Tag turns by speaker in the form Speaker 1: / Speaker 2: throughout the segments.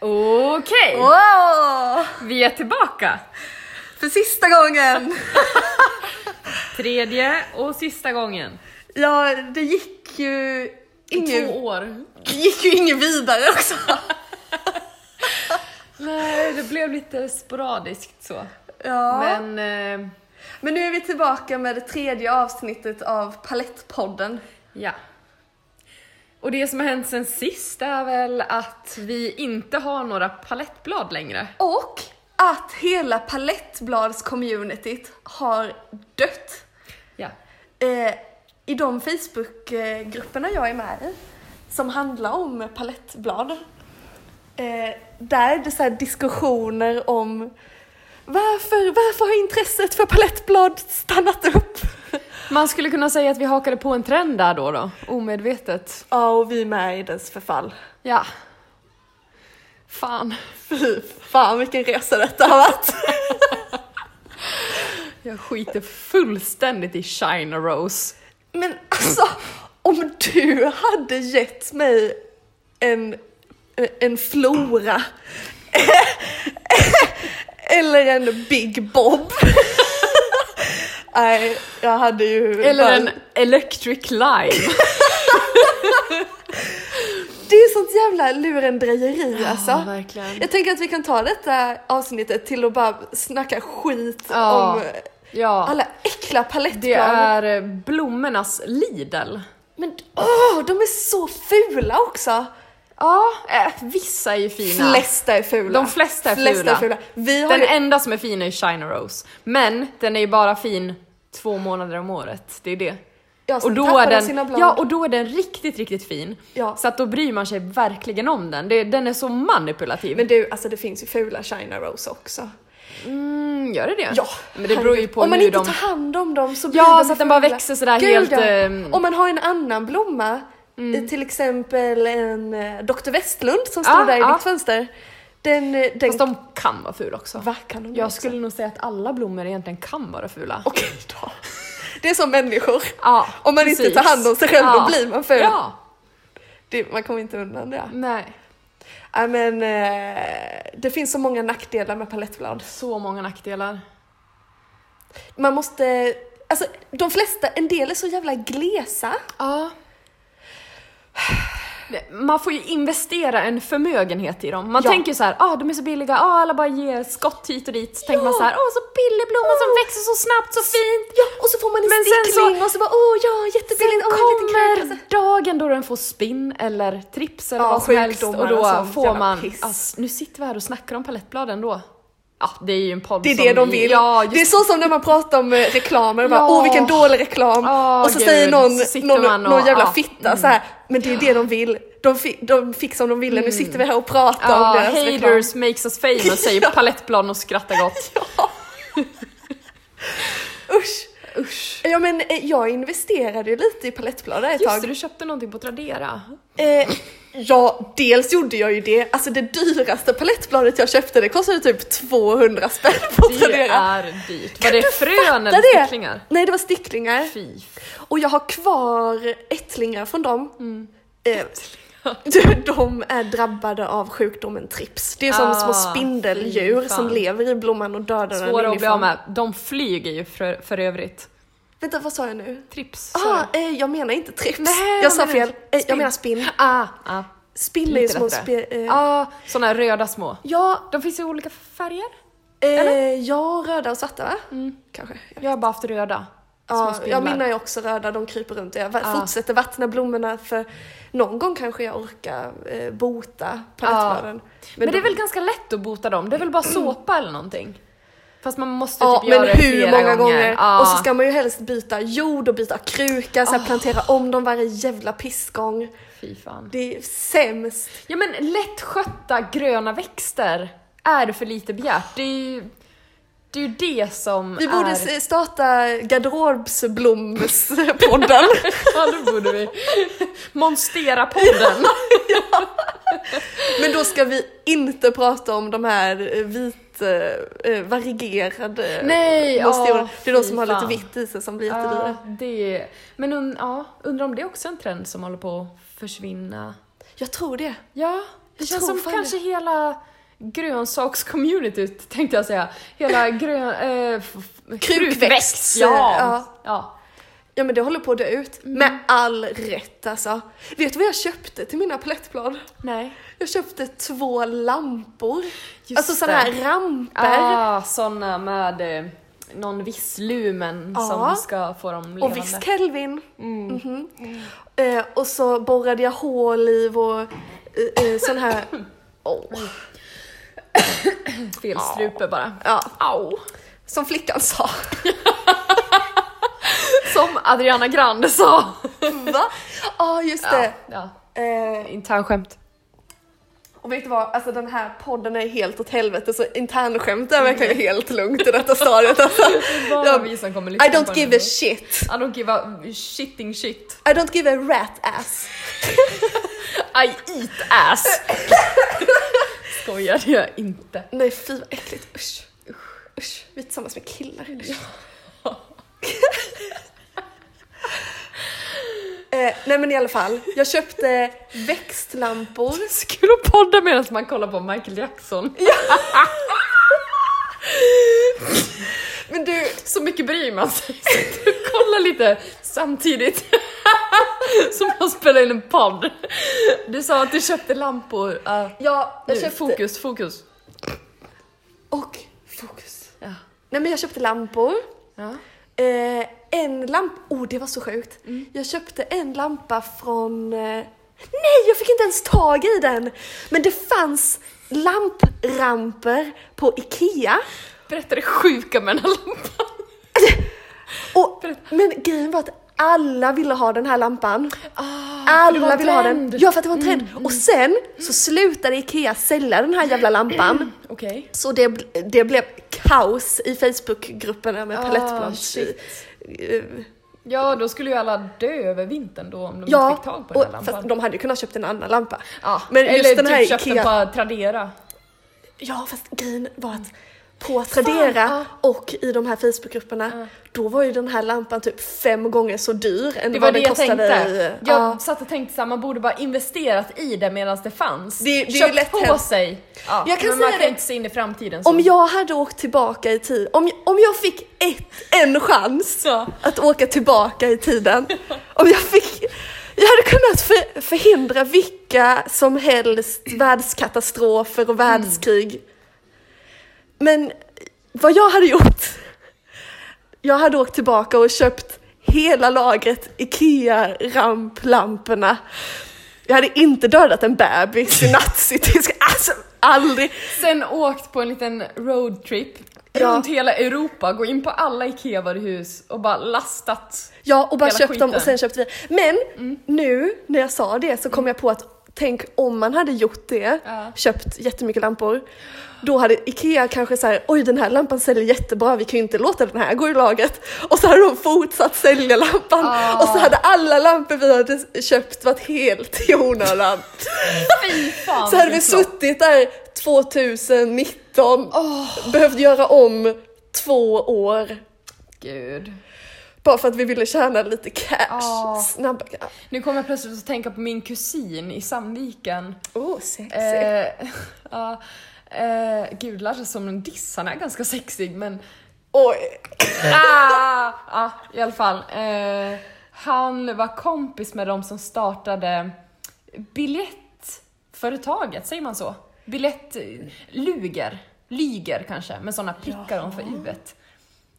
Speaker 1: Okej,
Speaker 2: Wow!
Speaker 1: vi är tillbaka!
Speaker 2: För sista gången!
Speaker 1: Tredje och sista gången.
Speaker 2: Ja, det gick ju ingen,
Speaker 1: Två år.
Speaker 2: det gick ju ingen vidare också.
Speaker 1: Nej, det blev lite sporadiskt så.
Speaker 2: Ja. Men.
Speaker 1: Men eh,
Speaker 2: nu är vi tillbaka med det tredje avsnittet av Palettpodden.
Speaker 1: ja. Och det som har hänt sen sist är väl att vi inte har några palettblad längre.
Speaker 2: Och att hela palettblads-communityt har dött.
Speaker 1: Ja.
Speaker 2: Eh, I de Facebookgrupperna jag är med i, som handlar om palettblad, eh, där är det så här diskussioner om varför, varför har intresset för palettblad stannat upp?
Speaker 1: Man skulle kunna säga att vi hakade på en trend där då, då omedvetet.
Speaker 2: Ja, och vi är med i dess förfall.
Speaker 1: Ja. Fan.
Speaker 2: Fy fan vilken resa detta har varit!
Speaker 1: Jag skiter fullständigt i China Rose.
Speaker 2: Men alltså, om du hade gett mig en, en flora eller en Big Bob. Nej, jag hade ju... bara-
Speaker 1: Eller en Electric Live.
Speaker 2: Det är sånt jävla lurendrejeri alltså.
Speaker 1: verkligen.
Speaker 2: Jag tänker att vi kan ta detta avsnittet till att bara snacka skit
Speaker 1: Ja.
Speaker 2: om
Speaker 1: Ja,
Speaker 2: alla äckliga
Speaker 1: det
Speaker 2: palettblad.
Speaker 1: är eh, blommornas Lidl.
Speaker 2: Men åh, de är så fula också!
Speaker 1: Ja, eh, vissa är ju fina.
Speaker 2: Flesta är fula.
Speaker 1: De flesta är
Speaker 2: Flesta
Speaker 1: fula.
Speaker 2: är fula. Vi har
Speaker 1: Den
Speaker 2: ju
Speaker 1: enda som är fin är China Rose. Men den är ju bara fin två månader om året, det är det.
Speaker 2: Ja, sen
Speaker 1: Och då,
Speaker 2: tappar
Speaker 1: är
Speaker 2: de
Speaker 1: den,
Speaker 2: Alltså, sina blad.
Speaker 1: ja, och då är den riktigt, riktigt fin.
Speaker 2: Ja.
Speaker 1: Så att då bryr man sig verkligen om den. Det, den är så manipulativ.
Speaker 2: Men du, alltså det finns ju fula China Rose också.
Speaker 1: mm, gör det det?
Speaker 2: Ja,
Speaker 1: Men det beror ju
Speaker 2: herregud.
Speaker 1: på
Speaker 2: Om man
Speaker 1: hur
Speaker 2: inte
Speaker 1: de...
Speaker 2: tar hand om dem så blir
Speaker 1: Ja,
Speaker 2: de
Speaker 1: så att den bara
Speaker 2: fula.
Speaker 1: växer sådär
Speaker 2: Gud,
Speaker 1: helt,
Speaker 2: ja.
Speaker 1: ehm, mm.
Speaker 2: Om man har en annan blomma, eh, till exempel en eh, Dr. Westlund som
Speaker 1: Ja,
Speaker 2: står där i
Speaker 1: ja.
Speaker 2: ditt fönster. Den, eh, den
Speaker 1: Fast de kan vara fula också.
Speaker 2: Vad kan de göra?
Speaker 1: Jag skulle nog säga att alla blommor egentligen kan vara fula.
Speaker 2: Okej då. Det är som människor.
Speaker 1: Ja,
Speaker 2: Om man inte tar hand om sig själv, då
Speaker 1: Ja.
Speaker 2: blir man ful.
Speaker 1: Ja,
Speaker 2: Det, man kommer inte undan det.
Speaker 1: nej.
Speaker 2: Nej men eh, det finns så många nackdelar med palettblad.
Speaker 1: Så många nackdelar.
Speaker 2: Man måste, alltså de flesta, en del är så jävla glesa.
Speaker 1: Ja. Man får ju investera en förmögenhet i dem. Man
Speaker 2: Ja.
Speaker 1: tänker så här, ah de är så billiga, ah alla bara ger skott hit och dit. Så tänker man så här, åh så billig blomma som växer så snabbt, så fint.
Speaker 2: Ja, och så får man en
Speaker 1: Men sen
Speaker 2: stickling och så bara åh ja, jättebilligt,
Speaker 1: Sen
Speaker 2: åh en liten knäck.
Speaker 1: kommer dagen då den får spinn eller trips eller
Speaker 2: Ja,
Speaker 1: vad som helst och
Speaker 2: sjukdomar
Speaker 1: då
Speaker 2: och sånt
Speaker 1: får
Speaker 2: jävla
Speaker 1: man...
Speaker 2: piss.
Speaker 1: Ass, nu sitter vi här och snackar om palettbladen då. Ja, det är ju en podd
Speaker 2: Det är
Speaker 1: som
Speaker 2: det de
Speaker 1: vi-
Speaker 2: vill.
Speaker 1: Ja, just
Speaker 2: det är så som när man pratar om eh, reklamer, bara,
Speaker 1: Ja.
Speaker 2: åh vilken dålig reklam.
Speaker 1: Åh,
Speaker 2: och så
Speaker 1: gud.
Speaker 2: säger någon,
Speaker 1: Så sitter
Speaker 2: någon,
Speaker 1: man och-
Speaker 2: någon jävla
Speaker 1: ja. Mm.
Speaker 2: fitta så här. men det är det de vill. De, fi, de fick som de ville, nu sitter vi här och pratar om
Speaker 1: Ja,
Speaker 2: deras reklam.
Speaker 1: haters makes us famous säger palettbladen och skrattar gott.
Speaker 2: Usch!
Speaker 1: Usch.
Speaker 2: Ja men eh, jag investerade ju lite i palettblad där ett
Speaker 1: Just
Speaker 2: tag.
Speaker 1: det, du köpte någonting på Tradera.
Speaker 2: Eh, ja, dels gjorde jag ju det. Alltså det dyraste palettbladet jag köpte det kostade typ 200 spänn på
Speaker 1: Det
Speaker 2: Tradera.
Speaker 1: är dyrt. Var det frön
Speaker 2: Fattar
Speaker 1: eller sticklingar?
Speaker 2: Nej, det var sticklingar.
Speaker 1: Fy.
Speaker 2: Och jag har kvar ättlingar från dem.
Speaker 1: Mm.
Speaker 2: Eh, de- de är drabbade av sjukdomen trips. Det är som
Speaker 1: Ah,
Speaker 2: små spindeldjur
Speaker 1: fy fan.
Speaker 2: som lever i blomman och dödar den
Speaker 1: Svåra att bli
Speaker 2: inifrån.
Speaker 1: av med. De flyger ju för, för övrigt.
Speaker 2: Vänta, vad sa jag nu?
Speaker 1: Trips. sa
Speaker 2: Ah,
Speaker 1: du.
Speaker 2: eh, jag menar inte trips.
Speaker 1: Nej,
Speaker 2: jag
Speaker 1: vad
Speaker 2: sa
Speaker 1: menar du?
Speaker 2: fel. Eh, jag
Speaker 1: Spinn.
Speaker 2: menar spinn.
Speaker 1: Ah, ah.
Speaker 2: Spinn är ju
Speaker 1: Lite
Speaker 2: små
Speaker 1: lättare.
Speaker 2: spe, eh,
Speaker 1: Ah, såna här röda små.
Speaker 2: Ja,
Speaker 1: De finns i olika färger.
Speaker 2: eh, ja, röda och svarta va?
Speaker 1: Mm.
Speaker 2: Kanske.
Speaker 1: Jag har bara haft röda.
Speaker 2: Ja,
Speaker 1: små
Speaker 2: jag
Speaker 1: spindlar.
Speaker 2: menar ju också röda, de kryper runt. Jag va-
Speaker 1: Ja.
Speaker 2: fortsätter vattna blommorna för någon gång kanske jag orkar eh, bota palettbladen.
Speaker 1: Men, det
Speaker 2: de- Mm.
Speaker 1: är väl ganska lätt att bota dem? Det är väl bara såpa eller någonting? Fast man måste
Speaker 2: Ja,
Speaker 1: typ
Speaker 2: men
Speaker 1: göra det
Speaker 2: hur
Speaker 1: flera
Speaker 2: många gånger?
Speaker 1: Ja.
Speaker 2: Och så ska man ju helst byta jord och byta kruka, så här, plantera om dem varje jävla pissgång.
Speaker 1: Ah, Fy fan.
Speaker 2: Det är sämst.
Speaker 1: Ja men lättskötta gröna växter är för lite begärt. Det är ju det, är ju det som
Speaker 2: Vi
Speaker 1: är...
Speaker 2: borde s- starta garderobsblomspodden.
Speaker 1: Ja det borde vi. Monstera-podden.
Speaker 2: men då ska vi inte prata om de här eh, vit eh, varierade
Speaker 1: Nej, ja,
Speaker 2: blomsterjordarna. Det är de
Speaker 1: fy
Speaker 2: som har lite
Speaker 1: fan.
Speaker 2: vitt i sig som blir jättedyra.
Speaker 1: Ja, det är... Men und, ja, undrar om det är också en trend som håller på att försvinna?
Speaker 2: Jag tror det.
Speaker 1: Ja, Det
Speaker 2: Jag
Speaker 1: känns
Speaker 2: tror
Speaker 1: som
Speaker 2: fan
Speaker 1: kanske hela grönsakscommunityt tänkte jag säga. Hela grön... Eh, f- f- krukväxt, Ja.
Speaker 2: ja.
Speaker 1: ja. ja.
Speaker 2: Ja men det håller på att dö ut.
Speaker 1: Mm.
Speaker 2: Med all rätt alltså. Vet du vad jag köpte till mina palettblad?
Speaker 1: Nej.
Speaker 2: Jag köpte två lampor.
Speaker 1: Just
Speaker 2: alltså sådana här ramper.
Speaker 1: Ah, såna med eh, någon viss lumen
Speaker 2: Ja.
Speaker 1: som ska få dem levande.
Speaker 2: Ah.
Speaker 1: Mm.
Speaker 2: och viss Kelvin. Mhm. Eh, och så borrade jag hål i vår eh, eh, sån här...
Speaker 1: Mm.
Speaker 2: Åh. Ah.
Speaker 1: Fel strupe bara.
Speaker 2: Ja,
Speaker 1: Au!
Speaker 2: som flickan sa.
Speaker 1: Som Adriana Grande sa.
Speaker 2: Va? Ja, just
Speaker 1: Ja,
Speaker 2: det.
Speaker 1: ja.
Speaker 2: Eh,
Speaker 1: Internskämt.
Speaker 2: och vet du vad, alltså den här podden är helt åt helvete så internskämt är verkligen helt lugnt i detta stadiet. Alltså.
Speaker 1: Mm. Bara
Speaker 2: Ja,
Speaker 1: vi som kommer
Speaker 2: I
Speaker 1: lyssna på
Speaker 2: don't
Speaker 1: den
Speaker 2: give
Speaker 1: ändå.
Speaker 2: a shit.
Speaker 1: I don't give a shitting shit.
Speaker 2: I don't give a rat ass.
Speaker 1: I eat ass. Skojar, det gör jag inte.
Speaker 2: Nej fy vad äckligt, usch. Usch, vi är tillsammans med killar. Usch. eh, nej men i alla fall, jag köpte växtlampor.
Speaker 1: Så kul att podda medan man kollar på Michael Jackson.
Speaker 2: Men du,
Speaker 1: Så mycket bryr man sig. Så att du kollar lite samtidigt som man spelar in en podd. Du sa att du köpte lampor. Ja,
Speaker 2: ja, jag
Speaker 1: nu,
Speaker 2: köpte...
Speaker 1: Fokus, fokus.
Speaker 2: Och fokus.
Speaker 1: Ja.
Speaker 2: Nej men jag köpte lampor.
Speaker 1: Ja.
Speaker 2: Eh, en lampa, oh det var så sjukt.
Speaker 1: Mm.
Speaker 2: Jag köpte en lampa från... Eh, nej, jag fick inte ens tag i den! Men det fanns lampramper på Ikea.
Speaker 1: Berätta det sjuka med den här lampan.
Speaker 2: Och, men grejen var att alla ville ha den här lampan.
Speaker 1: Ah, för det var
Speaker 2: alla
Speaker 1: en
Speaker 2: ville ha den.
Speaker 1: trend. Mm,
Speaker 2: Ja, för att det var en trend. Och sen så slutade Ikea sälja den här jävla lampan.
Speaker 1: Okej.
Speaker 2: Så det, det blev kaos i Facebookgrupperna med
Speaker 1: Ah,
Speaker 2: palettblad. Eh,
Speaker 1: shit. Ja, då skulle ju alla dö över vintern då om de inte
Speaker 2: Ja,
Speaker 1: fick tag på
Speaker 2: och,
Speaker 1: den här
Speaker 2: fast
Speaker 1: lampan.
Speaker 2: de hade ju kunnat köpt en annan lampa.
Speaker 1: Ja,
Speaker 2: men
Speaker 1: eller
Speaker 2: just den här
Speaker 1: typ köpt
Speaker 2: Ikea-
Speaker 1: den på Tradera.
Speaker 2: Ja, fast grejen var att på Tradera
Speaker 1: Mm. ja.
Speaker 2: och i de här Facebookgrupperna, då var ju den här lampan typ fem gånger så dyr än
Speaker 1: Det var
Speaker 2: vad
Speaker 1: det
Speaker 2: den
Speaker 1: jag tänkte.
Speaker 2: kostade. i-
Speaker 1: Jag
Speaker 2: Ja.
Speaker 1: satt och tänkte såhär, man borde bara investerat i det medan det fanns.
Speaker 2: Det- det är ju
Speaker 1: Köpt
Speaker 2: lätt
Speaker 1: på
Speaker 2: hänt.
Speaker 1: sig. Ja,
Speaker 2: Jag kan
Speaker 1: men
Speaker 2: säga
Speaker 1: man kan
Speaker 2: det.
Speaker 1: inte se in i framtiden. Så.
Speaker 2: Om jag hade åkt tillbaka i tiden, om, om jag fick ett, en chans
Speaker 1: Ja.
Speaker 2: att åka tillbaka i tiden, om jag fick, jag hade kunnat för, förhindra vilka som helst världskatastrofer och världskrig. Men vad jag hade gjort, jag hade åkt tillbaka och köpt hela lagret IKEA-ramplamporna. Jag hade inte dödat en bebis i nazitysk, alltså aldrig.
Speaker 1: Sen åkt på en liten roadtrip
Speaker 2: Ja.
Speaker 1: runt hela Europa, gå in på alla IKEA-varuhus och bara lastat.
Speaker 2: Ja, och bara
Speaker 1: Hela
Speaker 2: köpt dem
Speaker 1: skiten. Mm.
Speaker 2: och sen köpte vi. Men nu när jag sa det så kom jag på att tänk om man hade gjort det,
Speaker 1: Ja.
Speaker 2: köpt jättemycket lampor. Då hade Ikea kanske så här, oj den här lampan säljer jättebra, vi kan ju inte låta den här gå i laget. Och så hade de fortsatt sälja lampan
Speaker 1: Ah.
Speaker 2: och så hade alla lampor vi hade köpt varit helt i onödan.
Speaker 1: Fy fan
Speaker 2: Så hade vi
Speaker 1: vilken flopp.
Speaker 2: suttit där 2019, behövt göra om två år
Speaker 1: Gud.
Speaker 2: bara för att vi ville tjäna lite cash.
Speaker 1: Ah.
Speaker 2: Snabba cash.
Speaker 1: Nu kommer jag plötsligt att tänka på min kusin i Sandviken.
Speaker 2: Åh, oh, sexy.
Speaker 1: Eh, ja, eh, gud, det låter som en diss. Han är ganska sexig, men...
Speaker 2: Oj. Eh.
Speaker 1: Ah, ah, I alla fall. Eh, han var kompis med de som startade biljettföretaget, säger man så? Biljett... Luger. Lyger kanske, med sådana prickar om för uet.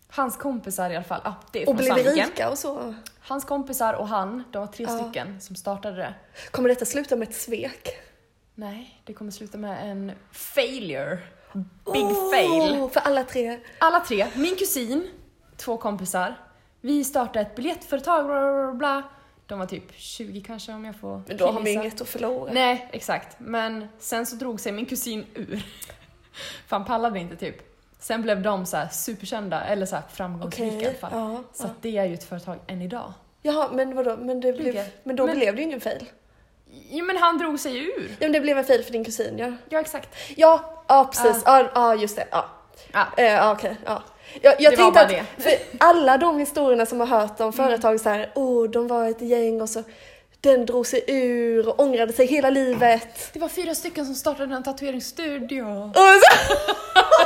Speaker 1: Hans kompisar i alla fall. Ah, det är från
Speaker 2: Och blev
Speaker 1: Sandviken.
Speaker 2: rika och så.
Speaker 1: Hans kompisar och han, de var tre stycken som startade det.
Speaker 2: Kommer detta sluta med ett svek?
Speaker 1: Nej, det kommer sluta med en failure. Big fail.
Speaker 2: Åh, För alla tre.
Speaker 1: Alla tre, min kusin, två kompisar. Vi startade ett biljettföretag, bla bla bla. bla. De var typ 20 kanske om jag får
Speaker 2: Men då har man ju
Speaker 1: killgissa.
Speaker 2: inget att förlora.
Speaker 1: Nej, exakt. Men sen så drog sig min kusin ur. För han pallade inte typ. Sen blev de så här superkända, eller så här framgångsrika i alla fall.
Speaker 2: ja,
Speaker 1: så
Speaker 2: ja.
Speaker 1: att det är ju ett företag än idag.
Speaker 2: Jaha, men vadå? Men, det blev,
Speaker 1: Lyga.
Speaker 2: men då
Speaker 1: Men-
Speaker 2: blev det ju ingen fail.
Speaker 1: Jo men han drog sig ur.
Speaker 2: Ja, men det blev en fail för din kusin, ja.
Speaker 1: Ja exakt.
Speaker 2: Ja, ja precis.
Speaker 1: Ah.
Speaker 2: Ja, ja just det. Ja,
Speaker 1: Ja.
Speaker 2: eh, ja, okej. Ja. Jag, jag
Speaker 1: Ah. Det Mm.
Speaker 2: tänkte
Speaker 1: var bara
Speaker 2: att för alla de historierna som har hört om företag så här, oh, de var ett gäng och så Den drog sig ur och ångrade sig hela livet.
Speaker 1: Det var fyra stycken som startade en tatueringsstudio.
Speaker 2: Och så,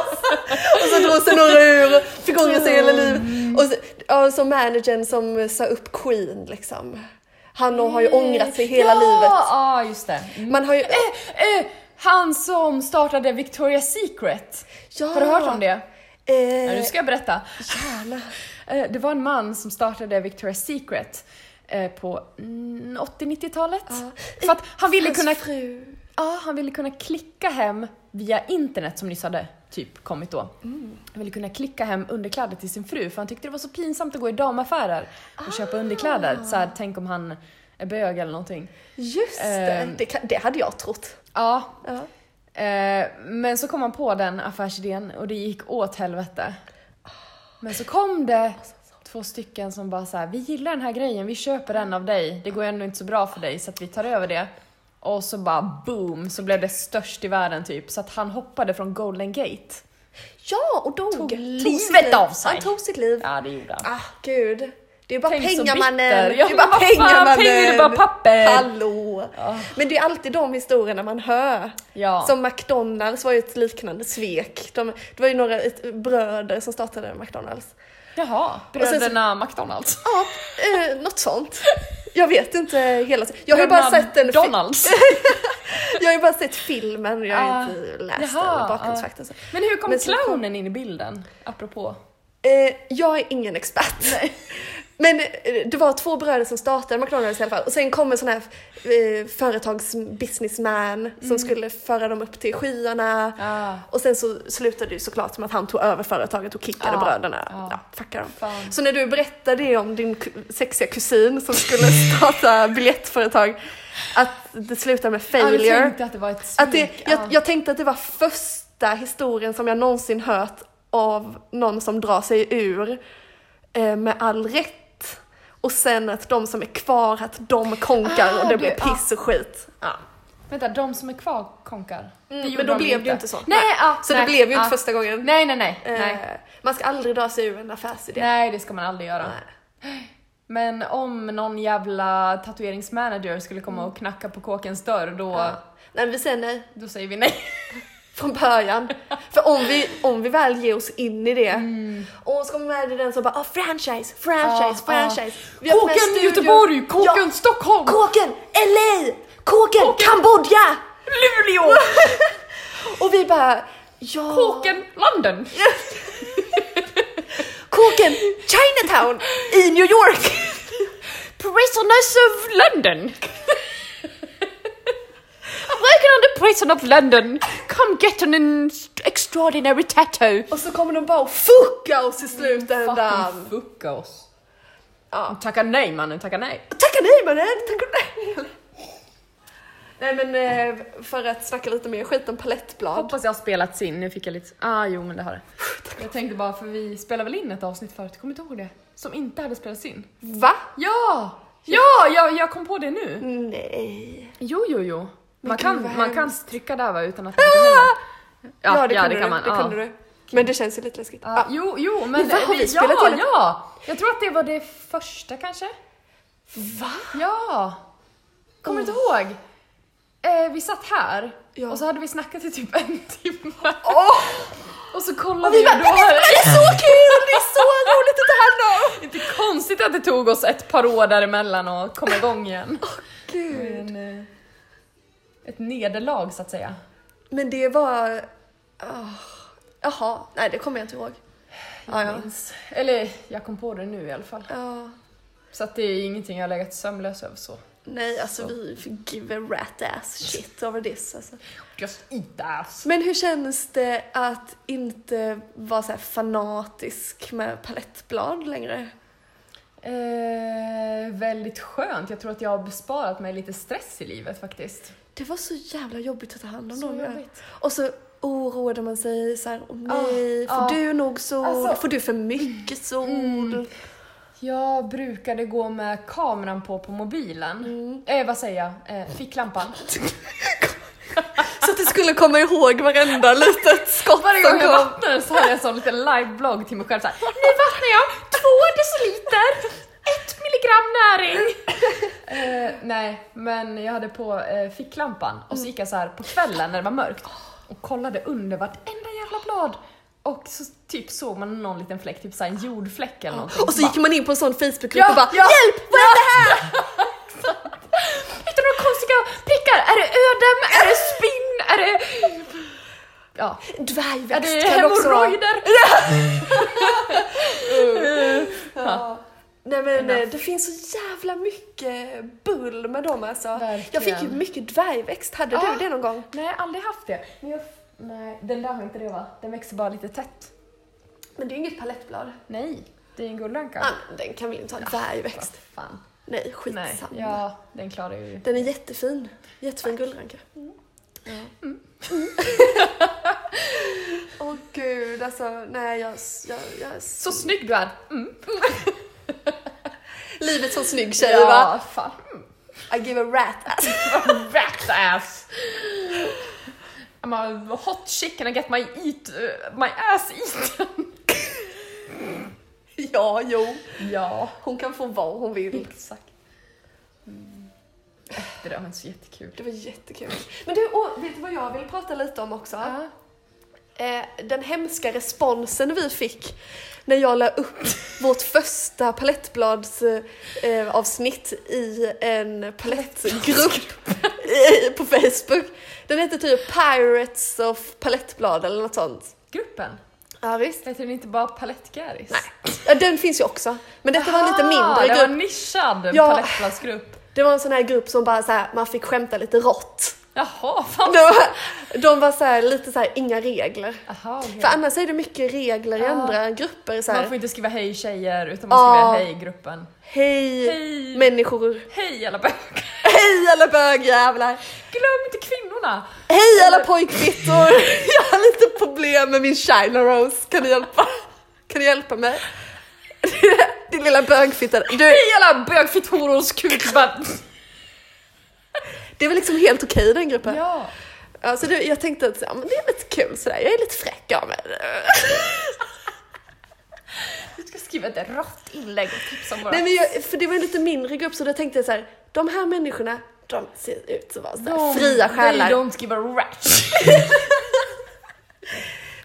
Speaker 2: och så drog sig några ur och fick ångra sig hela livet. Och så, ja, så managern som sa upp Queen liksom. Han har ju ångrat sig hela
Speaker 1: ja,
Speaker 2: livet.
Speaker 1: Ja, just det. Mm.
Speaker 2: Man har ju...
Speaker 1: Eh, eh, han som startade Victoria's Secret.
Speaker 2: Ja.
Speaker 1: Har du hört om det? Ja, nu
Speaker 2: Eh,
Speaker 1: ska jag berätta.
Speaker 2: gärna.
Speaker 1: Eh, Det var en man som startade Victoria's Secret eh, på mm, 80-90-talet. För att han ville
Speaker 2: Hans
Speaker 1: kunna
Speaker 2: fru.
Speaker 1: Ja, han ville kunna klicka hem via internet som nyss hade typ kommit då.
Speaker 2: Mm.
Speaker 1: Han ville kunna klicka hem underkläder till sin fru för han tyckte det var så pinsamt att gå i damaffärer och köpa underkläder. Så
Speaker 2: Ah.
Speaker 1: här, tänk om han är bög eller någonting.
Speaker 2: Just det,
Speaker 1: Ehm.
Speaker 2: det, kan, det hade jag trott.
Speaker 1: Ja,
Speaker 2: Ja.
Speaker 1: eh, men så kom han på den affärsidén och det gick åt helvete. Men så kom det två stycken som bara så här, vi gillar den här grejen, vi köper den av dig. Det går ändå inte så bra för dig så att vi tar över det. Och så bara boom, så blev det störst i världen typ. Så att han hoppade från Golden Gate.
Speaker 2: Ja, och dog.
Speaker 1: Tog
Speaker 2: sitt
Speaker 1: livet
Speaker 2: liv.
Speaker 1: av sig.
Speaker 2: Han tog sitt liv.
Speaker 1: Ja, det gjorde han.
Speaker 2: Ah, gud. Det är bara
Speaker 1: Tänk så
Speaker 2: pengamannen.
Speaker 1: bitter.
Speaker 2: det
Speaker 1: Ja,
Speaker 2: är
Speaker 1: men
Speaker 2: bara
Speaker 1: vad fan,
Speaker 2: pengamannen.
Speaker 1: pengar är bara papper. Ah.
Speaker 2: Hallå. Men det är alltid de historierna man hör.
Speaker 1: Ja.
Speaker 2: Som McDonalds var ju ett liknande svek. De, det var ju några ett, bröder som startade McDonalds.
Speaker 1: Jaha,
Speaker 2: sen så-
Speaker 1: bröderna McDonalds.
Speaker 2: Ja, eh, något sånt. Jag vet inte hela. Jag har ju bara
Speaker 1: Bröderna
Speaker 2: sett den. fi-
Speaker 1: Donalds.
Speaker 2: Jag har ju bara sett filmen. Jag har
Speaker 1: Ah.
Speaker 2: inte läst
Speaker 1: Jaha,
Speaker 2: den
Speaker 1: ah.
Speaker 2: bakgrundsfaktorn. så.
Speaker 1: Men hur kom
Speaker 2: Men så kom-
Speaker 1: clownen in i bilden? Apropå.
Speaker 2: Eh, jag är ingen expert. Men eh, det var två bröder som startade McDonalds i alla fall. Och sen kom en sån här eh, företagsbusinessman som skulle föra dem upp till skyarna.
Speaker 1: Mm. Ah.
Speaker 2: Och sen så slutade det ju såklart med att han tog över företaget och kickade
Speaker 1: Ja,
Speaker 2: bröderna.
Speaker 1: ja.
Speaker 2: Ja, fucka dem.
Speaker 1: Fan.
Speaker 2: Så när du berättade det om din ku- sexiga kusin som skulle starta biljettföretag, att det slutade med
Speaker 1: Ja, du
Speaker 2: failure.
Speaker 1: tänkte att det var ett svek.
Speaker 2: Att det, jag,
Speaker 1: ja.
Speaker 2: jag tänkte att det var första historien som jag någonsin hört av någon som drar sig ur eh, med all rätt. Och sen att de som är kvar, att de konkar
Speaker 1: Ah,
Speaker 2: och det
Speaker 1: du-
Speaker 2: blir piss och skit. Ja.
Speaker 1: Vänta, de som är kvar konkar?
Speaker 2: Mm,
Speaker 1: gjorde
Speaker 2: men då
Speaker 1: de
Speaker 2: blev det ju inte så.
Speaker 1: Nej, ja,
Speaker 2: Så
Speaker 1: nej,
Speaker 2: det blev ju inte
Speaker 1: ja.
Speaker 2: första gången.
Speaker 1: Nej, nej, nej.
Speaker 2: Eh,
Speaker 1: nej.
Speaker 2: Man ska aldrig dra sig ur en affärsidé.
Speaker 1: Nej, det ska man aldrig göra.
Speaker 2: Nej.
Speaker 1: Men om någon jävla tatueringsmanager skulle komma och knacka på kåkens dörr, då,
Speaker 2: Mm. Ja. Nej, vi säger nej
Speaker 1: då säger vi nej.
Speaker 2: från början. För om vi, om vi väl ger oss in i det, och så kommer vi med i den som bara ah, franchise,
Speaker 1: Mm.
Speaker 2: franchise,
Speaker 1: Ja, ja.
Speaker 2: franchise. Vi har öppnat
Speaker 1: Kåken
Speaker 2: studio.
Speaker 1: Göteborg, kåken
Speaker 2: Ja.
Speaker 1: Stockholm,
Speaker 2: Kåken, LA, kåken, Kambodja!
Speaker 1: Luleå,
Speaker 2: Och vi bara, ja,
Speaker 1: kåken London.
Speaker 2: kåken, Chinatown i New York!
Speaker 1: Prisoners of London. Working on the prison of London. Come get an extraordinary tattoo.
Speaker 2: Och så kommer de bara och fucka oss i slutändan.
Speaker 1: Fucking fucka oss.
Speaker 2: Ja.
Speaker 1: Tacka nej mannen, tacka nej.
Speaker 2: Tacka nej mannen, tacka nej! Nej men eh, för att snacka lite mer skit om palettblad.
Speaker 1: Hoppas jag har spelats in, nu fick jag lite... Ah jo men det har det. Jag tänkte bara, för vi spelade väl in ett avsnitt förut, jag kommer inte ihåg det? Som inte hade spelats in.
Speaker 2: Va?
Speaker 1: Ja! Ja, jag, jag kom på det nu!
Speaker 2: Nej.
Speaker 1: Jo, jo, jo. Man
Speaker 2: gud, vad
Speaker 1: kan, man kan
Speaker 2: hemskt.
Speaker 1: trycka där va, utan att det händer. Ja, ja, det,
Speaker 2: kunde
Speaker 1: kan
Speaker 2: du,
Speaker 1: man.
Speaker 2: Det
Speaker 1: ja.
Speaker 2: kunde du. Men det känns ju lite läskigt. Ah,
Speaker 1: Ja,
Speaker 2: Ja.
Speaker 1: Jo, jo, men...
Speaker 2: Men vad har vi spelat
Speaker 1: ja,
Speaker 2: hela-
Speaker 1: ja! Jag tror att det var det första kanske.
Speaker 2: Va?
Speaker 1: Ja! Kommer du inte ihåg? Eh, vi satt här
Speaker 2: Ja.
Speaker 1: och så hade vi snackat i typ en timme.
Speaker 2: Åh!
Speaker 1: Och så
Speaker 2: Och
Speaker 1: kollade
Speaker 2: vi
Speaker 1: vi,
Speaker 2: bara
Speaker 1: då.
Speaker 2: det är så kul, det är så roligt att ta hand om!
Speaker 1: Inte konstigt att det tog oss ett par år däremellan och komma igång igen.
Speaker 2: Gud.
Speaker 1: En, eh, ett nederlag så att säga.
Speaker 2: Men det var... ah, Jaha, nej det kommer jag inte ihåg. Ah, Ja, ja.
Speaker 1: Minns. Eller jag kom på det nu i alla fall.
Speaker 2: Ja,
Speaker 1: Så att det är ingenting jag har legat sömnlös över så.
Speaker 2: nej, alltså vi give a rat ass shit over this. Alltså.
Speaker 1: Just eat ass.
Speaker 2: Men hur känns det att inte vara så här fanatisk med palettblad längre?
Speaker 1: Eh, väldigt skönt. Jag tror att jag har besparat mig lite stress i livet faktiskt.
Speaker 2: Det var så jävla jobbigt att ta hand om
Speaker 1: Så
Speaker 2: dem. ja.
Speaker 1: jobbigt.
Speaker 2: Och så oroade man sig så här, åh
Speaker 1: Ah,
Speaker 2: nej, får
Speaker 1: ah.
Speaker 2: du nog sol?
Speaker 1: Alltså- mm.
Speaker 2: Får du för mycket sol?
Speaker 1: Jag brukade gå med kameran på på mobilen.
Speaker 2: Mm.
Speaker 1: Eh, vad säger jag? Eh, ficklampan.
Speaker 2: Så att du skulle komma ihåg varenda litet skott
Speaker 1: Varje
Speaker 2: som
Speaker 1: gång jag
Speaker 2: kom.
Speaker 1: vattnade så hade jag en sån liten liveblogg till mig själv såhär Nu vattnar jag två deciliter, ett gram näring! Eh, nej, men jag hade på eh, ficklampan och så
Speaker 2: Mm.
Speaker 1: gick jag så här på kvällen när det var mörkt och kollade under vartenda jävla blad och så typ såg man någon liten fläck, typ så här en jordfläck eller någonting.
Speaker 2: Och så
Speaker 1: bara,
Speaker 2: gick man in på en sån Facebookgrupp
Speaker 1: Ja,
Speaker 2: och bara
Speaker 1: ja.
Speaker 2: Hjälp! Vad är det här?
Speaker 1: Hittar några konstiga prickar? Är det ödem? Är det spinn? Är det... Ja.
Speaker 2: "Eh,
Speaker 1: Är
Speaker 2: Dvärgväxt
Speaker 1: det
Speaker 2: kan också vara.
Speaker 1: hemorrojder?
Speaker 2: Ja. Nej men eh, det finns så jävla mycket bull med dem alltså.
Speaker 1: Verkligen.
Speaker 2: Jag fick ju mycket dvärgväxt, hade
Speaker 1: Ja.
Speaker 2: du det någon gång?
Speaker 1: Nej, jag har aldrig haft det. Men jag... Nej, den där har inte det va? Den växer bara lite tätt.
Speaker 2: Men det är ju inget palettblad.
Speaker 1: Nej, det är en guldranka.
Speaker 2: Nej, men den kan väl inte ha dvärgväxt?
Speaker 1: Fan.
Speaker 2: Nej,
Speaker 1: Nej,
Speaker 2: skitsamma.
Speaker 1: ja, den klarar ju...
Speaker 2: Den är jättefin. Jättefin guldranka. Mm. Åh gud, alltså nej jag... jag, jag
Speaker 1: Så snygg du är! Mm.
Speaker 2: livet som snygg tjej
Speaker 1: Ja,
Speaker 2: va?
Speaker 1: fan.
Speaker 2: I give a rat ass.
Speaker 1: Rat ass! I'm a hot chicken, I get my eat... Uh, my ass eaten!
Speaker 2: ja, jo.
Speaker 1: ja,
Speaker 2: Hon kan få vad hon vill.
Speaker 1: exakt. Mm. Det där var inte så jättekul.
Speaker 2: Det var jättekul. Men du, och, vet du vad jag vill prata lite om också?
Speaker 1: Ja.
Speaker 2: Eh, den hemska responsen vi fick när jag la upp vårt första palettbladsavsnitt eh, avsnitt i en palettgrupp i- på Facebook. Den heter typ Pirates of palettblad eller något sånt.
Speaker 1: Gruppen?
Speaker 2: Ja, visst.
Speaker 1: Heter den inte bara Palettgäris? Ah,
Speaker 2: Nej, ja, den finns ju också. Men detta var en lite mindre
Speaker 1: Det var
Speaker 2: grupp.
Speaker 1: en nischad
Speaker 2: Ja.
Speaker 1: palettbladsgrupp.
Speaker 2: Det var en sån här grupp som bara så här, man fick skämta lite rått.
Speaker 1: Jaha, fan.
Speaker 2: De, de var så här, lite så här, inga regler.
Speaker 1: Jaha, okej.
Speaker 2: För annars är det mycket regler i
Speaker 1: Ja.
Speaker 2: andra grupper. Så här,
Speaker 1: Man får inte skriva hej tjejer utan man
Speaker 2: Ja.
Speaker 1: skriver hej gruppen.
Speaker 2: Hej,
Speaker 1: Hej.
Speaker 2: människor!
Speaker 1: Hej alla bögar!
Speaker 2: Hej alla bögjävlar!
Speaker 1: Glöm inte kvinnorna!
Speaker 2: Hej alla pojkfittor! Jag har lite problem med min China Rose, kan du hjälpa? Kan du hjälpa mig? Din lilla bögfitta. Du,
Speaker 1: Hej alla bögfittorors kukband!
Speaker 2: det var liksom helt okej den gruppen. Ja.
Speaker 1: Ja.
Speaker 2: Alltså, det, jag tänkte att ja, men det är lite kul sådär, jag är lite fräck av mig.
Speaker 1: Du ska skriva ett rått inlägg och tipsa om våra...
Speaker 2: Nej men jag, för det var en lite mindre grupp så då tänkte jag så här, de här människorna, de ser ut som att vara så här fria
Speaker 1: They
Speaker 2: själar.
Speaker 1: don't give a rat!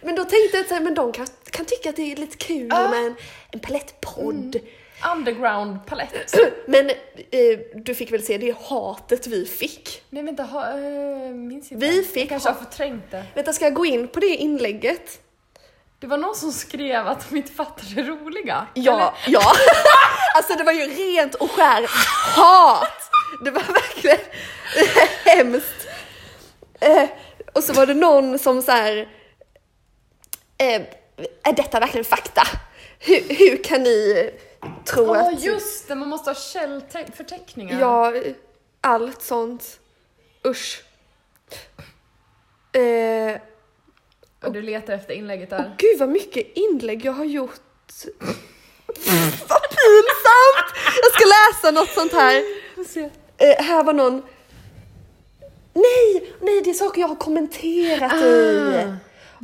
Speaker 2: Men då tänkte jag så här, men de kan, kan tycka att det är lite kul
Speaker 1: Ja.
Speaker 2: med en, en palettpodd.
Speaker 1: Underground palett.
Speaker 2: Men eh, du fick väl se det hatet vi fick.
Speaker 1: Nej vänta, ha, eh, minns inte.
Speaker 2: Vi
Speaker 1: Jag
Speaker 2: fick
Speaker 1: kanske
Speaker 2: ha-
Speaker 1: har förträngt det.
Speaker 2: Vänta, ska jag gå in på det inlägget?
Speaker 1: Det var någon som skrev att de inte fattade det roliga.
Speaker 2: Ja,
Speaker 1: Eller-
Speaker 2: ja. alltså det var ju rent och skär hat. Det var verkligen hemskt. Eh, och så var det någon som så här. Eh, är detta verkligen fakta? Hur, hur kan ni tro
Speaker 1: Ja
Speaker 2: att...
Speaker 1: just det, man måste ha källförteckningar.
Speaker 2: Ja, allt sånt. Usch. Eh,
Speaker 1: Och du letar efter inlägget
Speaker 2: Åh
Speaker 1: där.
Speaker 2: gud vad mycket inlägg jag har gjort. vad pinsamt! Jag ska läsa något sånt här. Eh, här var någon. Nej, nej det är saker jag har kommenterat i.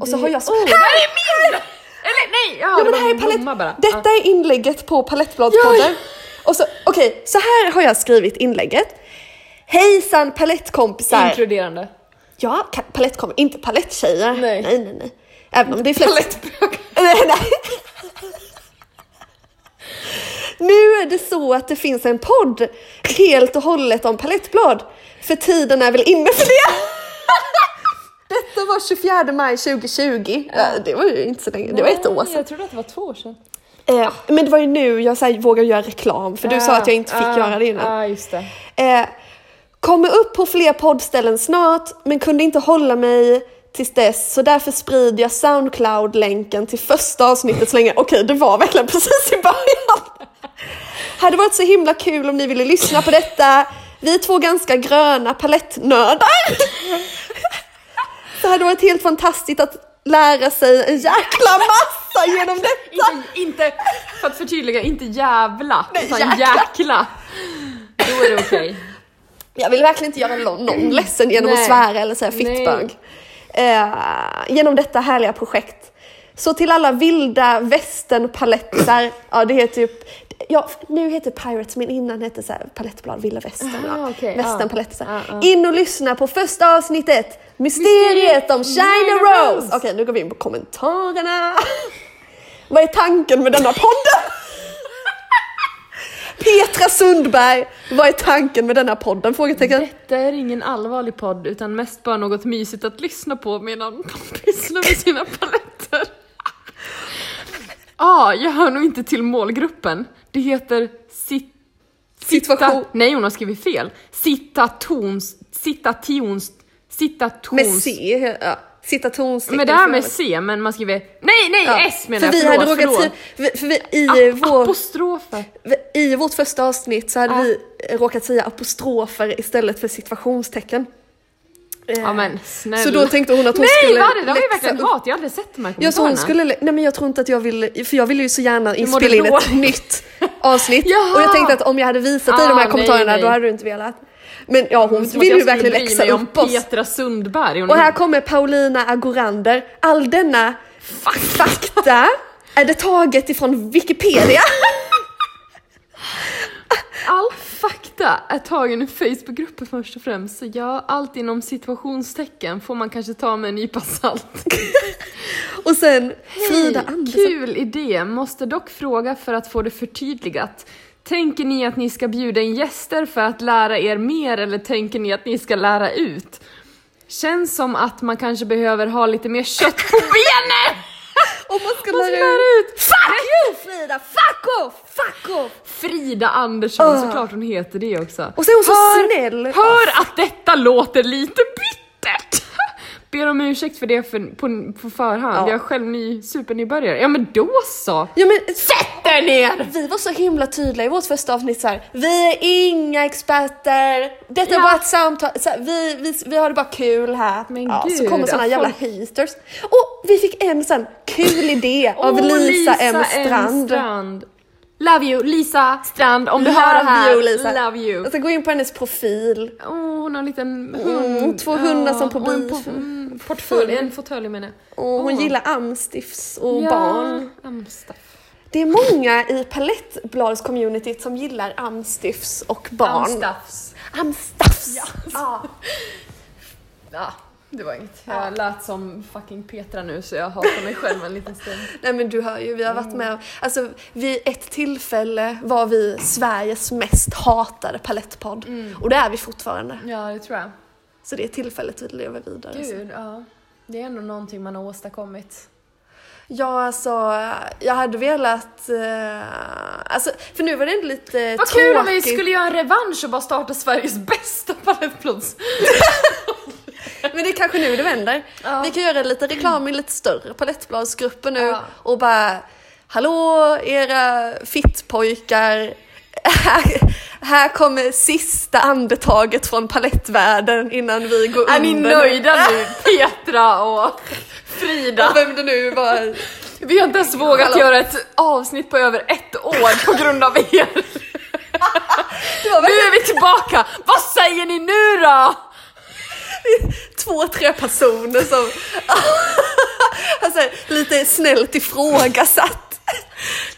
Speaker 2: Och så har jag...
Speaker 1: Oh, Ah, det här är min! Eller nej! Ja,
Speaker 2: Ja,
Speaker 1: det
Speaker 2: men det här är
Speaker 1: var min blomma
Speaker 2: palett...
Speaker 1: bara. Ah.
Speaker 2: Detta är inlägget på Palettbladspodden. Och så, okej, så här har jag skrivit inlägget. Hejsan
Speaker 1: Ja.
Speaker 2: palettkompisar!
Speaker 1: Inkluderande.
Speaker 2: Ja, ka- palettkom, inte paletttjejer.
Speaker 1: Nej.
Speaker 2: nej, nej. nej. Även om det är flest... Palettbögar. nej, nej. Nu är det så att det finns en podd helt och hållet om palettblad. För tiden är väl inne för det. Detta var 24 maj 2020. Ja. Det var ju inte så länge, det var ett år
Speaker 1: Nej,
Speaker 2: sedan.
Speaker 1: Jag trodde att det var två år sedan.
Speaker 2: Eh, men det var ju nu jag så här, vågar göra reklam för du sa
Speaker 1: Ah,
Speaker 2: att jag inte fick
Speaker 1: ah,
Speaker 2: göra det innan.
Speaker 1: Ja, just det.
Speaker 2: Eh, kommer upp på fler poddställen snart men kunde inte hålla mig tills dess så därför sprider jag Soundcloud-länken till första avsnittet så länge. Okej, det var verkligen precis i början. Hade varit så himla kul om ni ville lyssna på detta. Vi är två ganska gröna palettnördar. Det hade varit helt fantastiskt att lära sig en jäkla massa genom detta.
Speaker 1: Inte, inte, för att förtydliga, inte jävla, utan
Speaker 2: jäkla.
Speaker 1: jäkla. Då är det okej.
Speaker 2: Jag vill verkligen inte göra någon, någon ledsen genom att
Speaker 1: Nej.
Speaker 2: svära eller säga
Speaker 1: Nej.
Speaker 2: fittbög. Eh, genom detta härliga projekt. Så till alla vilda västernpalettar, ja det heter ju, Ja, nu heter Pirates, men innan hette så här palettblad Vilda Västern.
Speaker 1: Aha,
Speaker 2: ja.
Speaker 1: Ah, okej, Ah,
Speaker 2: Västern,
Speaker 1: ja.
Speaker 2: palett, så här.
Speaker 1: Ja, ja.
Speaker 2: In och lyssna på första avsnittet, Mysteriet
Speaker 1: Mysteriet
Speaker 2: om China
Speaker 1: China
Speaker 2: Rose.
Speaker 1: Rose.
Speaker 2: Okej, nu går vi in på kommentarerna. Vad är tanken med denna podden? Petra Sundberg, vad är tanken med denna podden? Frågetecken.
Speaker 1: Detta är ingen allvarlig podd utan mest bara något mysigt att lyssna på medan de pysslar med sina paletter. ah, jag hör nog inte till målgruppen. Det heter sit...
Speaker 2: Situation.
Speaker 1: Nej, hon har skrivit fel. Sitatons... Sitations... Sitatons...
Speaker 2: Med C, ja. Citationstecken.
Speaker 1: Men det här med
Speaker 2: för-
Speaker 1: C, men man skriver... Nej, nej,
Speaker 2: Ja,
Speaker 1: S menar jag.
Speaker 2: För vi
Speaker 1: förlåt,
Speaker 2: hade råkat
Speaker 1: förlåt.
Speaker 2: skriva, för, för vi, i,
Speaker 1: Ap-
Speaker 2: vår,
Speaker 1: Apostrofer.
Speaker 2: i vårt första avsnitt så hade
Speaker 1: Ja.
Speaker 2: vi råkat säga apostrofer istället för situationstecken. Eh,
Speaker 1: Ja men snälla.
Speaker 2: Så då tänkte hon att hon
Speaker 1: Nej,
Speaker 2: skulle
Speaker 1: vad är det? Det var ju
Speaker 2: läxa
Speaker 1: verkligen
Speaker 2: upp-
Speaker 1: hat. Jag har aldrig sett de här
Speaker 2: Jag tror
Speaker 1: kommentarerna.
Speaker 2: hon skulle, lä- nej men jag tror inte att jag ville, för jag ville ju så gärna
Speaker 1: mådde
Speaker 2: spela in ett
Speaker 1: dåligt.
Speaker 2: nytt avsnitt.
Speaker 1: Jaha!
Speaker 2: Och jag tänkte att om jag hade visat dig
Speaker 1: Ah,
Speaker 2: de här
Speaker 1: nej,
Speaker 2: kommentarerna
Speaker 1: nej.
Speaker 2: då hade du inte velat. Men ja, hon
Speaker 1: Som att
Speaker 2: vill
Speaker 1: jag
Speaker 2: ju
Speaker 1: skulle
Speaker 2: verkligen
Speaker 1: bry
Speaker 2: läxa
Speaker 1: mig om
Speaker 2: upp oss.
Speaker 1: Petra Sundberg. Hon
Speaker 2: Och här kommer Paulina Agorander. All denna fakta är det taget ifrån Wikipedia.
Speaker 1: All fakta är tagen ur Facebookgruppen först och främst. Så ja, allt inom situationstecken får man kanske ta med en nypa salt.
Speaker 2: Och sen Frida
Speaker 1: Hej,
Speaker 2: Andersson.
Speaker 1: Kul idé, måste dock fråga för att få det förtydligat. Tänker ni att ni ska bjuda in gäster för att lära er mer eller tänker ni att ni ska lära ut? Känns som att man kanske behöver ha lite mer kött på benen!
Speaker 2: Om man ska
Speaker 1: Man ska
Speaker 2: lära
Speaker 1: lära
Speaker 2: ut.
Speaker 1: ut!
Speaker 2: Fuck you Frida! Fuck off! Fuck off!
Speaker 1: Frida Andersson,
Speaker 2: Ah.
Speaker 1: såklart hon heter det också.
Speaker 2: Och så är hon så
Speaker 1: hör,
Speaker 2: snäll.
Speaker 1: Hör att detta låter lite bittert! Ber om ursäkt för det för, på, på förhand,
Speaker 2: Ja.
Speaker 1: jag är själv ny, supernybörjare. Ja men då så!
Speaker 2: Ja men
Speaker 1: Sätt dig ner!
Speaker 2: vi var så himla tydliga i vårt första avsnitt så här. vi är inga experter, detta är
Speaker 1: Ja.
Speaker 2: bara ett samtal, så här, vi, vi, vi har det bara kul här.
Speaker 1: Men
Speaker 2: ja, så
Speaker 1: gud,
Speaker 2: kommer såna
Speaker 1: att
Speaker 2: jävla
Speaker 1: folk-
Speaker 2: haters. Och vi fick en sån kul idé av
Speaker 1: Åh,
Speaker 2: Lisa, M. Strand.
Speaker 1: Strand. Love you Lisa Strand om du
Speaker 2: Love
Speaker 1: hör det här.
Speaker 2: you Lisa.
Speaker 1: Love you.
Speaker 2: Jag ska Alltså, gå in på hennes profil.
Speaker 1: Åh, hon har en liten
Speaker 2: Mm,
Speaker 1: hund.
Speaker 2: två hundar som på
Speaker 1: och en
Speaker 2: bil-
Speaker 1: mm, portfölj. En fåtölj menar jag.
Speaker 2: Och hon
Speaker 1: Åh.
Speaker 2: gillar amstiffs och barn.
Speaker 1: Amstaff.
Speaker 2: Det är många i palettbladscommunityt som gillar amstiffs och barn.
Speaker 1: Amstaffs.
Speaker 2: Amstaffs! Ja.
Speaker 1: Ah. Ja, det var inget. Jag lät som fucking Petra nu så jag hatar mig själv en liten stund.
Speaker 2: Nej men du hör ju, vi har varit med om- alltså vid ett tillfälle var vi Sveriges mest hatade palettpodd.
Speaker 1: Mm.
Speaker 2: Och det är vi fortfarande.
Speaker 1: Ja, det tror jag.
Speaker 2: Så det är tillfället vi lever vidare.
Speaker 1: Gud, ja. Det är ändå någonting man har åstadkommit.
Speaker 2: Ja alltså, jag hade velat, eh, alltså för nu var det ändå lite
Speaker 1: Vad kul om vi
Speaker 2: tråkigt.
Speaker 1: skulle göra en revansch och bara starta Sveriges bästa palettplats.
Speaker 2: Men det är kanske nu det vänder.
Speaker 1: Ja.
Speaker 2: Vi kan göra lite reklam i lite större palettbladsgrupper nu
Speaker 1: Ja.
Speaker 2: och bara Hallå era fittpojkar! Här, här kommer sista andetaget från palettvärlden innan vi går
Speaker 1: Är ni
Speaker 2: under.
Speaker 1: nöjda nu, Petra och Frida?
Speaker 2: Och Vem det nu var.
Speaker 1: Vi har inte ens vågat
Speaker 2: Hallå.
Speaker 1: göra ett avsnitt på över ett år på grund av er.
Speaker 2: Det var
Speaker 1: Nu
Speaker 2: väl
Speaker 1: är vi tillbaka! Vad säger ni nu då?
Speaker 2: två, tre personer som alltså, lite snällt ifrågasatt.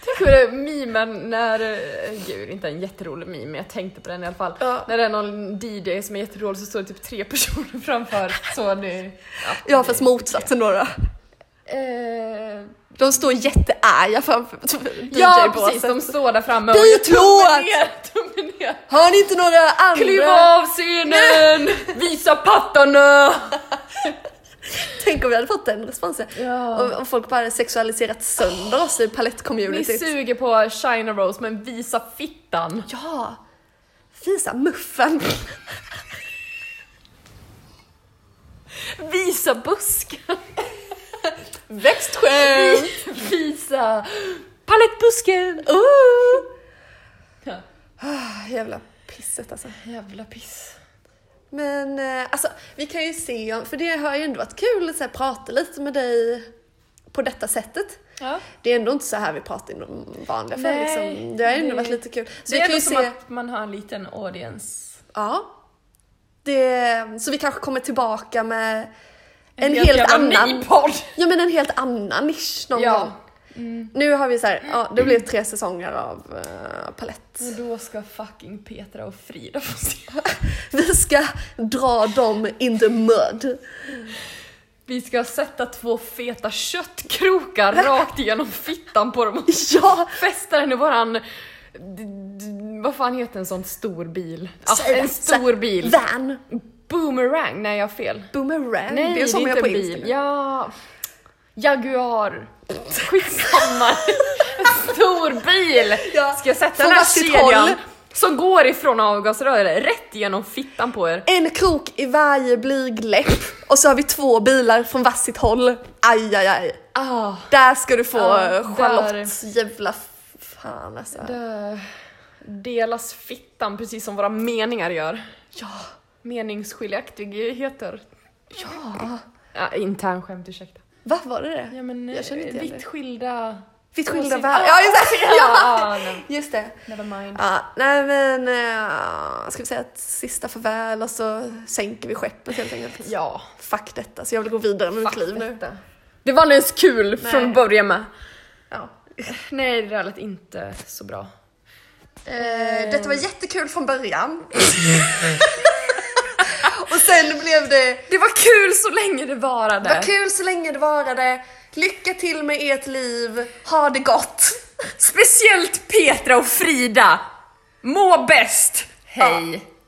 Speaker 1: Tänk på det mimen när, eh, gud inte en jätterolig meme men jag tänkte på den i alla fall.
Speaker 2: Ja.
Speaker 1: När det är någon DJ som är jätterolig så står det typ tre personer framför. Så det,
Speaker 2: Ja fast motsatsen då. då.
Speaker 1: eh,
Speaker 2: De står jättearga framför DJ-båset.
Speaker 1: ja precis, de står där framme och
Speaker 2: Byt
Speaker 1: gör
Speaker 2: låt!
Speaker 1: tummen ner, tummen ner.
Speaker 2: Har ni inte några andra?
Speaker 1: Kliva av scenen! Visa pattarna!
Speaker 2: Tänk om vi hade fått den responsen.
Speaker 1: Ja.
Speaker 2: Om, om folk bara hade sexualiserat sönder oss i
Speaker 1: Ni
Speaker 2: palettcommunityt.
Speaker 1: suger på China Rose men visa fittan.
Speaker 2: Ja! Visa muffen!
Speaker 1: Visa busken!
Speaker 2: Växtskämt!
Speaker 1: Visa palettbusken!
Speaker 2: Oh.
Speaker 1: Ja. Ah,
Speaker 2: Jävla pisset alltså.
Speaker 1: Jävla piss.
Speaker 2: Men eh, alltså, vi kan ju se om, för det har ju ändå varit kul att så här, prata lite med dig på detta sättet.
Speaker 1: Ja.
Speaker 2: Det är ändå inte så här vi pratar i de vanliga fall.
Speaker 1: Nej,
Speaker 2: Liksom. Det har ju ändå
Speaker 1: det-
Speaker 2: varit lite kul. Så
Speaker 1: det är
Speaker 2: vi kan ju
Speaker 1: ändå
Speaker 2: se...
Speaker 1: som att man har en liten audience.
Speaker 2: Ja. Det, så vi kanske kommer tillbaka med en,
Speaker 1: jävla
Speaker 2: helt annan...
Speaker 1: ny podd.
Speaker 2: Ja men en helt annan nisch någon
Speaker 1: Ja.
Speaker 2: gång. Nu har vi så här, ja, det blev tre säsonger av eh, palett.
Speaker 1: Och då ska fucking Petra och Frida få se.
Speaker 2: Vi ska dra dem in the mud.
Speaker 1: Vi ska sätta två feta köttkrokar rakt igenom fittan på dem och
Speaker 2: Ja!
Speaker 1: fästa den i våran... d- d- Vad fan heter en sån stor bil? Ja,
Speaker 2: Säg det,
Speaker 1: en
Speaker 2: säg-
Speaker 1: stor bil.
Speaker 2: Van.
Speaker 1: Boomerang? Nej, jag har fel.
Speaker 2: Boomerang.
Speaker 1: Nej,
Speaker 2: det är som jag
Speaker 1: inte
Speaker 2: på
Speaker 1: en bil.
Speaker 2: Instagram.
Speaker 1: Ja... Jaguar. Skitsamma. En stor bil!
Speaker 2: Ja,
Speaker 1: Ska jag sätta
Speaker 2: från
Speaker 1: den här
Speaker 2: varsitt håll.
Speaker 1: kedjan som går ifrån avgasröret rätt igenom fittan på er.
Speaker 2: En krok i varje blyg läpp och så har vi två bilar från varsitt håll. Aj, aj, aj.
Speaker 1: Ah,
Speaker 2: Där ska du få
Speaker 1: Ja,
Speaker 2: eh, Charlottes jävla f- fan alltså.
Speaker 1: det delas fittan precis som våra meningar gör.
Speaker 2: Ja,
Speaker 1: Meningsskiljaktigheter.
Speaker 2: ja.
Speaker 1: Ja, internskämt, ursäkta.
Speaker 2: Vad var det det?
Speaker 1: Ja, men,
Speaker 2: Jag känner inte igen
Speaker 1: vitt
Speaker 2: det.
Speaker 1: skilda...
Speaker 2: Vitt eh, skilda
Speaker 1: Åsikt-
Speaker 2: världar.
Speaker 1: Ah,
Speaker 2: Ja, just det. Ja.
Speaker 1: ah, nej,
Speaker 2: Just det.
Speaker 1: never mind.
Speaker 2: Ja, nej men, eh, ska vi säga ett sista farväl och så sänker vi skeppet helt enkelt.
Speaker 1: Ja.
Speaker 2: Fuck detta, så jag vill gå vidare med mitt liv nu.
Speaker 1: Detta. Det var aldrig ens kul
Speaker 2: Nej.
Speaker 1: från början med.
Speaker 2: Ja.
Speaker 1: Nej, det där lät inte så bra.
Speaker 2: Eh, detta var jättekul från början. och sen blev det,
Speaker 1: Det var kul så länge det varade.
Speaker 2: vad kul så länge det varade. Lycka till med ert liv, ha det gott.
Speaker 1: Speciellt Petra och Frida. Må bäst! Hej!
Speaker 2: Ja.